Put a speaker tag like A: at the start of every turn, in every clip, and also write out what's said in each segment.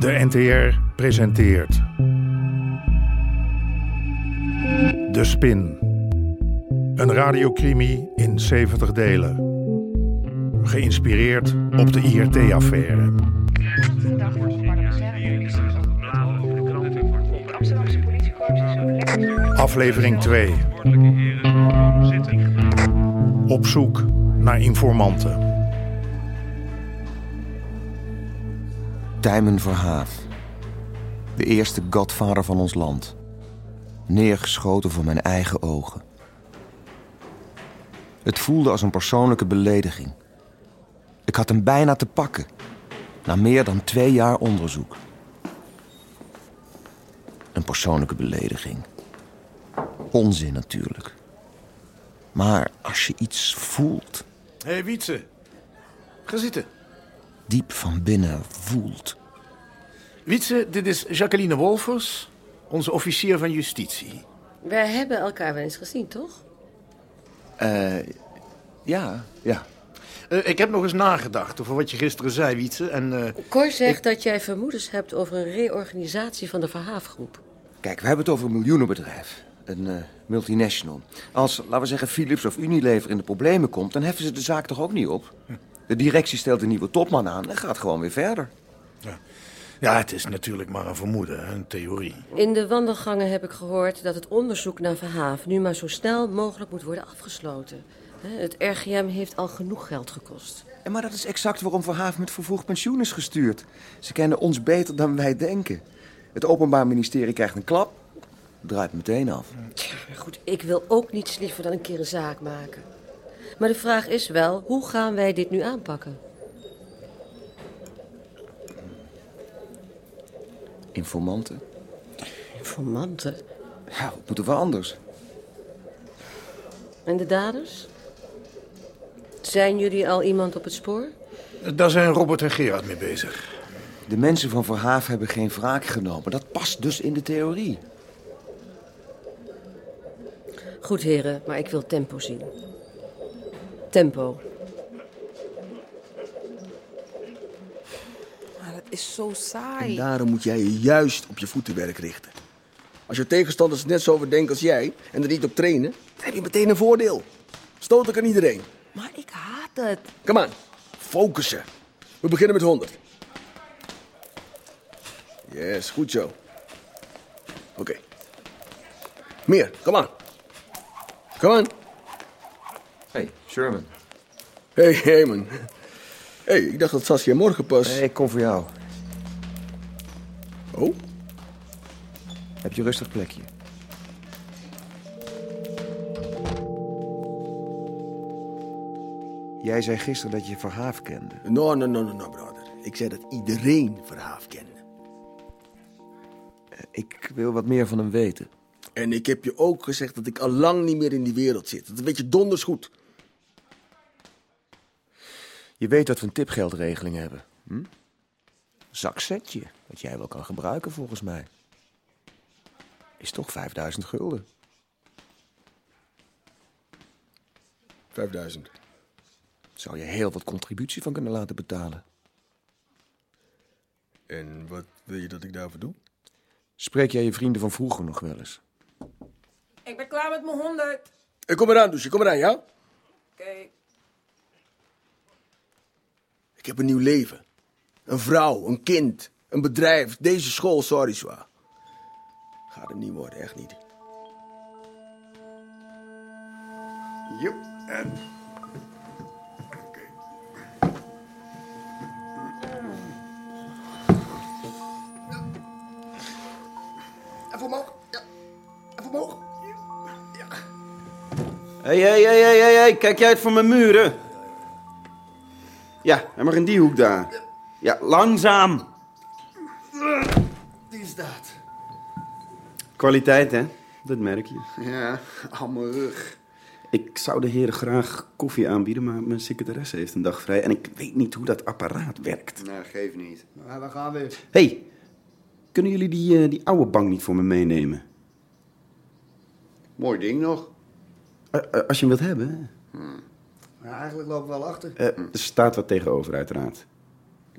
A: De NTR presenteert. De Spin. Een radiocrimi in 70 delen. Geïnspireerd op de IRT-affaire.
B: Dag voor zo'n De Amsterdamse politiekorps is zo lekker.
A: Aflevering 2. Op zoek naar informanten.
C: Tijmen Verhaaf. De eerste godvader van ons land. Neergeschoten voor mijn eigen ogen. Het voelde als een persoonlijke belediging. Ik had hem bijna te pakken. Na meer dan twee jaar onderzoek. Een persoonlijke belediging. Onzin natuurlijk. Maar als je iets voelt,
D: Hé hey, Wietse, ga zitten.
C: diep van binnen voelt.
D: Wietse, dit is Jacqueline Wolfers, onze officier van justitie.
E: Wij hebben elkaar wel eens gezien, toch?
C: Ja,
D: Ja. Eh, ik heb nog eens nagedacht over wat je gisteren zei, Wietse. En eh,
E: Cor zegt dat jij vermoedens hebt over een reorganisatie van de Verhaafgroep.
C: Kijk, we hebben het over een miljoenenbedrijf. Een eh, multinational. Als, laten we zeggen, Philips of Unilever in de problemen komt, dan heffen ze de zaak toch ook niet op? De directie stelt een nieuwe topman aan en gaat gewoon weer verder.
D: ja, het is natuurlijk maar een vermoeden, hè, een theorie.
E: In de wandelgangen heb ik gehoord dat het onderzoek naar Verhaaf nu maar zo snel mogelijk moet worden afgesloten. Hè, Het RGM heeft al genoeg geld gekost.
C: En maar dat is exact waarom Verhaaf met vervroegd pensioen is gestuurd. Ze kennen ons beter dan wij denken. Het Openbaar Ministerie krijgt een klap, draait meteen af.
E: Tja, maar goed, ik wil ook niets liever dan een keer een zaak maken. Maar de vraag is wel, hoe gaan wij dit nu aanpakken?
C: Informanten?
E: Informanten.
C: Ja, wat moeten we anders?
E: En de daders? Zijn jullie al iemand op het spoor?
D: Eh, Daar zijn Robert en Gerard mee bezig.
C: De mensen van Verhaaf hebben geen wraak genomen. Dat past dus in de theorie.
E: Goed, heren, maar ik wil tempo zien. Tempo.
F: Maar dat is zo
G: En
F: saai.
G: daarom moet jij je juist op je voetenwerk richten. Als je tegenstanders net zo over denken als jij en er niet op trainen, dan heb je meteen een voordeel. Stoot ik aan iedereen.
F: Maar ik haat het.
G: Kom aan, focussen. We beginnen met 100. Yes, goed zo. Oké. Meer, kom aan. Kom aan.
C: hey, Sherman.
G: Hé, hey, hey man. hey, ik dacht dat Saskia morgen pas...
C: ik kom voor jou.
G: Oh,
C: Heb je rustig plekje? Jij zei gisteren dat je Verhaaf kende.
G: no, no, no, no, no, brother. Ik zei dat iedereen Verhaaf kende.
C: Ik wil wat meer van hem weten.
G: En ik heb je ook gezegd dat ik al lang niet meer in die wereld zit. Dat weet je donders goed.
C: Je weet dat we een tipgeldregeling hebben. Hm? Zakzetje, wat jij wel kan gebruiken volgens mij. Is toch 5000 gulden?
G: 5000.
C: Zou je heel wat contributie van kunnen laten betalen?
G: En wat wil je dat ik daarvoor doe?
C: Spreek jij je vrienden van vroeger nog wel eens?
F: Ik ben klaar met mijn 100.
G: Ik kom eraan, Douche. Kom eraan, ja?
F: Oké.
G: Ik heb een nieuw leven. Een vrouw, een kind, een bedrijf, deze school, sorry, zwaar. Gaat het niet worden, echt niet.
D: Joep, en...
G: Even omhoog. Ja. Even omhoog.
H: Hé, hé, hé, hé, hé, hé, kijk jij uit voor mijn muren? Ja, en maar in die hoek daar. Ja, langzaam.
G: Die is dat.
H: Kwaliteit, hè? Dat merk je.
G: Ja, aan mijn rug.
H: Ik zou de heren graag koffie aanbieden, maar mijn secretaresse heeft een dag vrij... en ik weet niet hoe dat apparaat werkt.
G: Nou, geef niet. Maar we gaan weer.
H: Hé, hey, kunnen jullie die, eh, die oude bank niet voor me meenemen?
G: Mooi ding nog. Hmm.
H: Eh, eh, als je hem wilt hebben. hè?
G: eigenlijk lopen we wel achter.
H: Eh, er staat wat tegenover, uiteraard.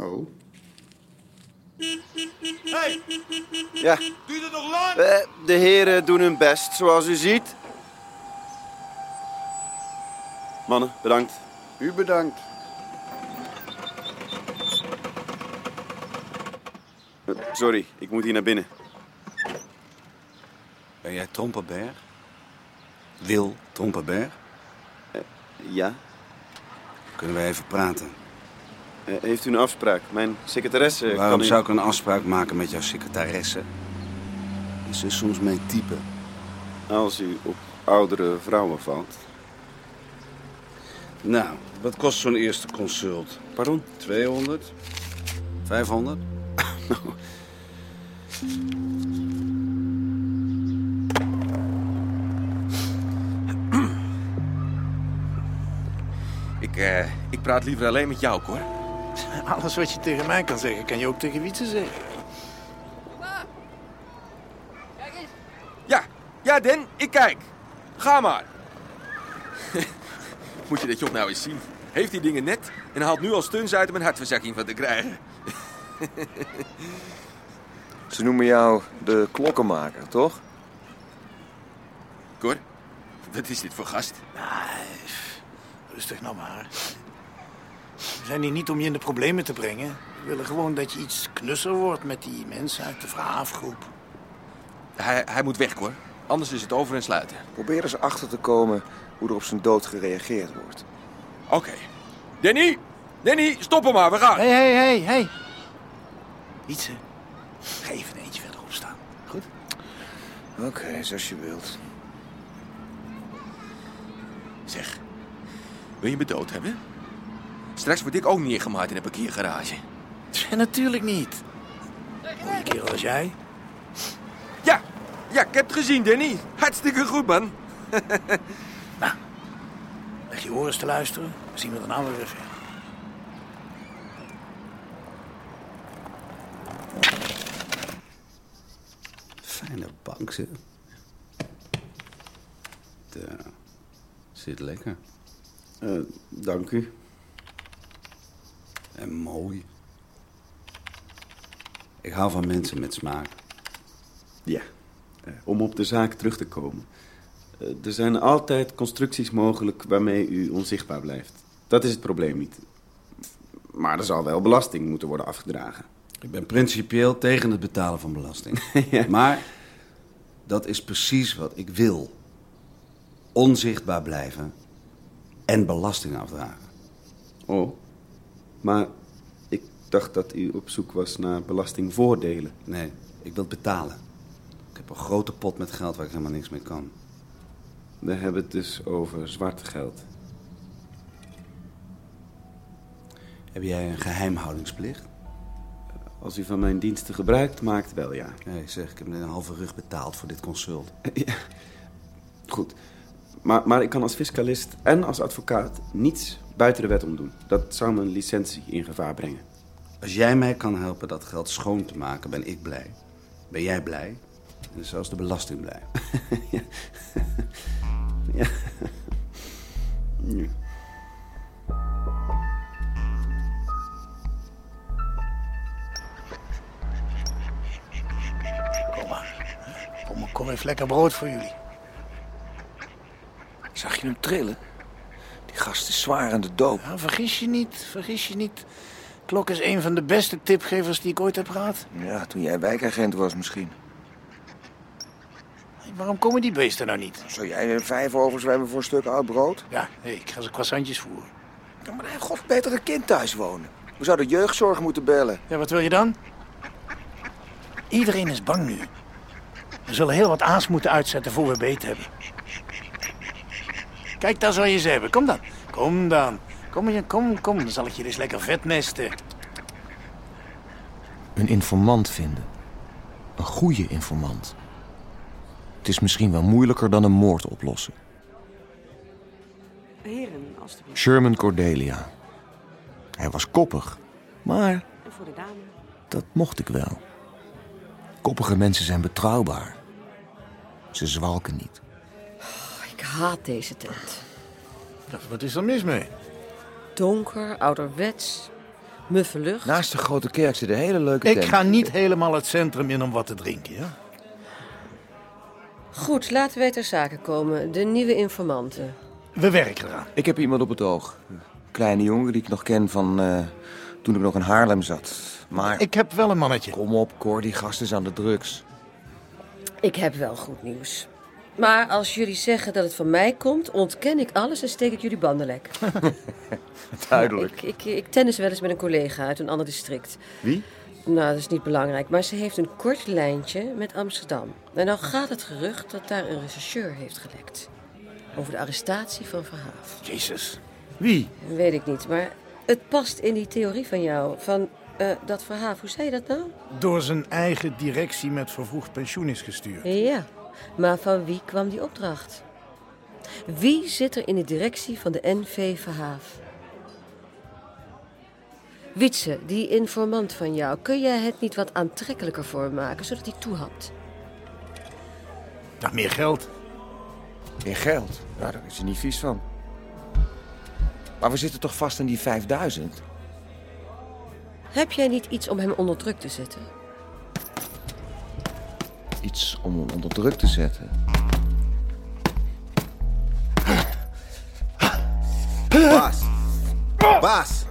G: Oh.
I: Hey,
C: Ja,
I: duurt het nog lang?
C: eh, de heren doen hun best, zoals u ziet.
H: Mannen, bedankt.
C: U bedankt.
H: Eh, Sorry, ik moet hier naar binnen.
I: Ben jij Trompenberg? Wil Trompenberg?
H: Eh, Ja?
I: Kunnen wij even praten?
H: Eh, heeft u een afspraak? Mijn secretaresse kan
I: Waarom
H: u-
I: zou ik een afspraak maken met jouw secretaresse? Ze is soms mijn type.
H: Als u op oudere vrouwen valt.
I: Nou, wat kost zo'n eerste consult?
H: Pardon?
I: 200? 500?
J: Ik, eh, ik praat liever alleen met jou, hoor.
D: Alles wat je tegen mij kan zeggen, kan je ook tegen Wietse zeggen.
J: Ja, ja, Den, ik kijk. Ga maar. Moet je dat job nou eens zien? Heeft die dingen net en haalt nu al stuns uit om een hartverzakking van te krijgen.
C: Ze noemen jou de klokkenmaker, toch?
J: Cor, wat is dit voor gast?
D: Rustig nou maar. We zijn hier niet om je in de problemen te brengen. We willen gewoon dat je iets knusser wordt met die mensen uit de verhaafgroep.
J: Hij, hij moet weg, hoor. Anders is het over en sluiten.
C: Probeer eens achter te komen hoe er op zijn dood gereageerd wordt.
J: Oké. Danny, Danny, stop hem maar, we gaan.
D: Hé, hé, hé, hé. Wietse, ga even eh, eentje verderop staan. Goed?
C: Oké, zoals je wilt.
J: Zeg, wil je me dood hebben? Straks word ik ook neergemaakt in een parkeergarage.
D: Ja, natuurlijk niet. Een kerel als jij.
J: Ja, ja, ik heb het gezien, Danny. Hartstikke goed, man.
D: Leg je oren eens te luisteren. Dan zien we dan allemaal weer verder.
I: Fijne bank, ze. Ja, zit lekker.
H: Eh, dank u.
I: En mooi. Ik hou van mensen met smaak.
H: Ja, eh, om op de zaak terug te komen. Eh, er zijn altijd constructies mogelijk waarmee u onzichtbaar blijft. Dat is het probleem niet. Maar er zal wel belasting moeten worden afgedragen.
I: Ik ben principieel tegen het betalen van belasting. Maar dat is precies wat ik wil. Onzichtbaar blijven en belasting afdragen.
H: Oh, maar ik dacht dat u op zoek was naar belastingvoordelen.
I: Nee, ik wil het betalen. Ik heb een grote pot met geld waar ik helemaal niks mee kan.
H: We hebben het dus over zwart geld.
I: Heb jij een geheimhoudingsplicht?
H: Als u van mijn diensten gebruikt maakt, wel ja.
I: Nee, zeg, ik heb net een halve rug betaald voor dit consult.
H: Ja, goed. Maar, maar ik kan als fiscalist en als advocaat niets buiten de wet om doen. Dat zou mijn licentie in gevaar brengen.
I: Als jij mij kan helpen dat geld schoon te maken, ben ik blij. Ben jij blij? En zelfs de belasting blij.
D: Kom maar. Kom maar, kom even lekker brood voor jullie.
C: Zag je hem trillen? Die gast is zwaar aan de doop.
D: Ja, Nou, vergis je niet, vergis je niet. Klok is een van de beste tipgevers die ik ooit heb gehad.
C: Ja, toen jij wijkagent was misschien.
D: Waarom komen die beesten nou niet?
C: Zou jij er vijf overzwemmen voor een stuk oud brood?
D: Ja, nee, ik ga ze croissantjes voeren.
C: Ja, maar hij heeft god beter een kind thuis wonen. We zouden jeugdzorg moeten bellen.
D: Ja, wat wil je dan? Iedereen is bang nu. We zullen heel wat aas moeten uitzetten voor we beet hebben. Kijk, daar zou je ze hebben. Kom dan. Kom dan. Kom, je- kom, kom. Dan zal ik je dus lekker vetnesten.
K: Een informant vinden. Een goede informant. Het is misschien wel moeilijker dan een moord oplossen.
F: Heren, alstublieft.
K: Sherman Cordelia. Hij was koppig, maar
F: En voor de dame.
K: dat mocht ik wel. Koppige mensen zijn betrouwbaar. Ze zwalken niet.
E: Ik haat deze tent.
D: Wat is er mis mee?
E: Donker, ouderwets. Muffe lucht.
C: Naast de grote kerk zit een hele leuke
D: Ik
C: tent.
D: ga niet helemaal het centrum in om wat te drinken, ja?
E: Goed, laten wij ter zake komen. De nieuwe informanten.
D: We werken eraan.
C: Ik heb iemand op het oog. Een kleine jongen die ik nog ken van eh, toen ik nog in Haarlem zat. Maar...
D: Ik heb wel een mannetje.
C: Kom op, Cor, die gast is aan de drugs.
E: Ik heb wel goed nieuws. Maar als jullie zeggen dat het van mij komt, ontken ik alles en steek ik jullie banden lek.
C: Duidelijk.
E: Ik, ik, ik tennis wel eens met een collega uit een ander district.
C: Wie?
E: Nou, dat is niet belangrijk, maar ze heeft een kort lijntje met Amsterdam. En nou gaat het gerucht dat daar een rechercheur heeft gelekt. Over de arrestatie van Verhaaf.
D: Jezus. Wie?
E: Weet ik niet, maar het past in die theorie van jou. Van eh, dat Verhaaf, hoe zei je dat nou?
D: Door zijn eigen directie met vervroegd pensioen is gestuurd.
E: Ja, maar van wie kwam die opdracht? Wie zit er in de directie van de NV Verhaaf? Witse, die informant van jou, kun jij het niet wat aantrekkelijker voor hem maken, zodat hij toehapt?
D: Nou, meer geld.
C: In geld? Nou, daar is hij niet vies van. Maar we zitten toch vast aan die 5000?
E: Heb jij niet iets om hem onder druk te zetten?
C: Iets om hem onder druk te zetten.
L: Baas. Baas.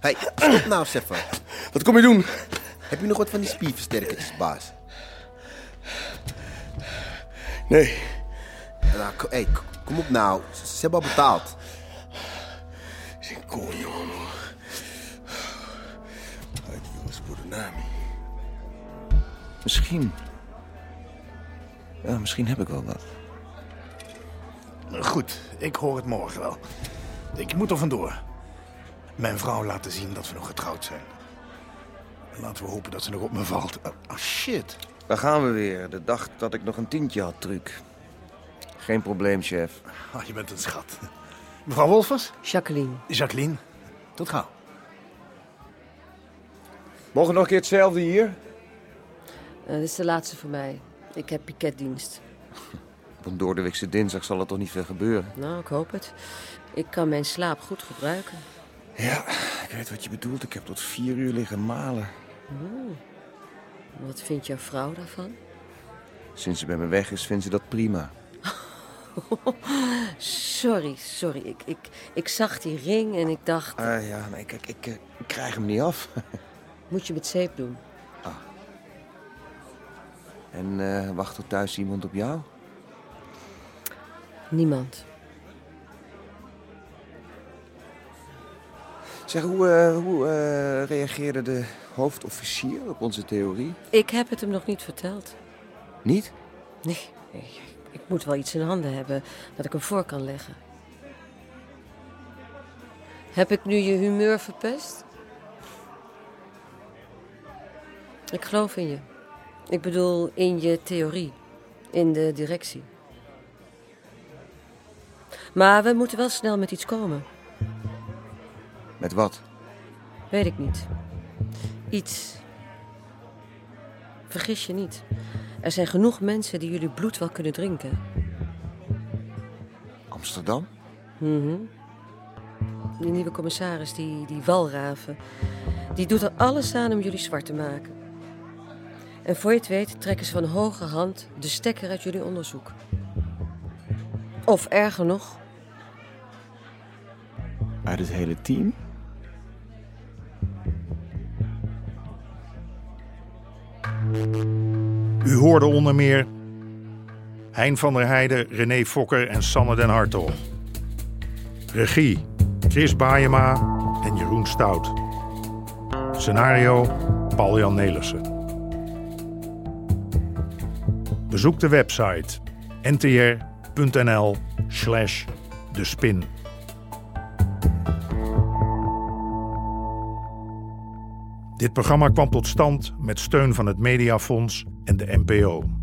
L: Hey, stop nou eens even.
G: Wat kom je doen?
L: Heb je nog wat van die spierversterkertjes, baas?
G: Nee.
L: Nou, ko- hey, k- kom op nou. Ze ze hebben al betaald.
C: Misschien. Ja, misschien heb ik wel wat.
D: Goed, ik hoor het morgen wel. Ik moet er vandoor. Mijn vrouw laten zien dat we nog getrouwd zijn. En Laten we hopen dat ze nog op me valt. Oh, oh, shit.
C: Daar gaan we weer. De dag dat ik nog een tientje had, truc. Geen probleem, chef.
D: Ah, je bent een schat. Mevrouw Wolfers?
E: Jacqueline.
D: Jacqueline, tot gauw.
C: Mogen we nog een keer hetzelfde hier?
E: Eh, dit is de laatste voor mij. Ik heb piketdienst.
C: Op een doordeweekse dinsdag zal er toch niet veel gebeuren?
E: Nou, ik hoop het. Ik kan mijn slaap goed gebruiken.
C: Ja, ik weet wat je bedoelt. Ik heb tot vier uur liggen malen.
E: Oeh. Wat vindt jouw vrouw daarvan?
C: Sinds ze bij me weg is, vindt ze dat prima.
E: Sorry, sorry. Ik, ik, ik zag die ring en ik dacht...
C: Ah ja, nee, kijk, ik, eh, ik krijg hem niet af.
E: Moet je met zeep doen?
C: En eh, wacht er thuis iemand op jou?
E: Niemand.
C: Zeg, hoe, eh, hoe eh, reageerde de hoofdofficier op onze theorie?
E: Ik heb het hem nog niet verteld.
C: Niet?
E: Nee, nee, ik moet wel iets in handen hebben dat ik hem voor kan leggen. Heb ik nu je humeur verpest? Ik geloof in je. Ik bedoel, in je theorie. In de directie. Maar we moeten wel snel met iets komen.
C: Met wat?
E: Weet ik niet. Iets. Vergis je niet. Er zijn genoeg mensen die jullie bloed wel kunnen drinken.
C: Amsterdam?
E: Mhm. Die nieuwe commissaris, die, die walraven, die doet er alles aan om jullie zwart te maken. En voor je het weet trekken ze van hoge hand de stekker uit jullie onderzoek. Of erger nog,
K: Uit het hele team?
A: U hoorde onder meer Hein van der Heijden, René Fokker en Sanne den Hartog. Regie Chris Baayema en Jeroen Stout. Scenario Paul-Jan Nelissen. Bezoek de website ntr.nl slash de spin. Dit programma kwam tot stand met steun van het Mediafonds en de NPO.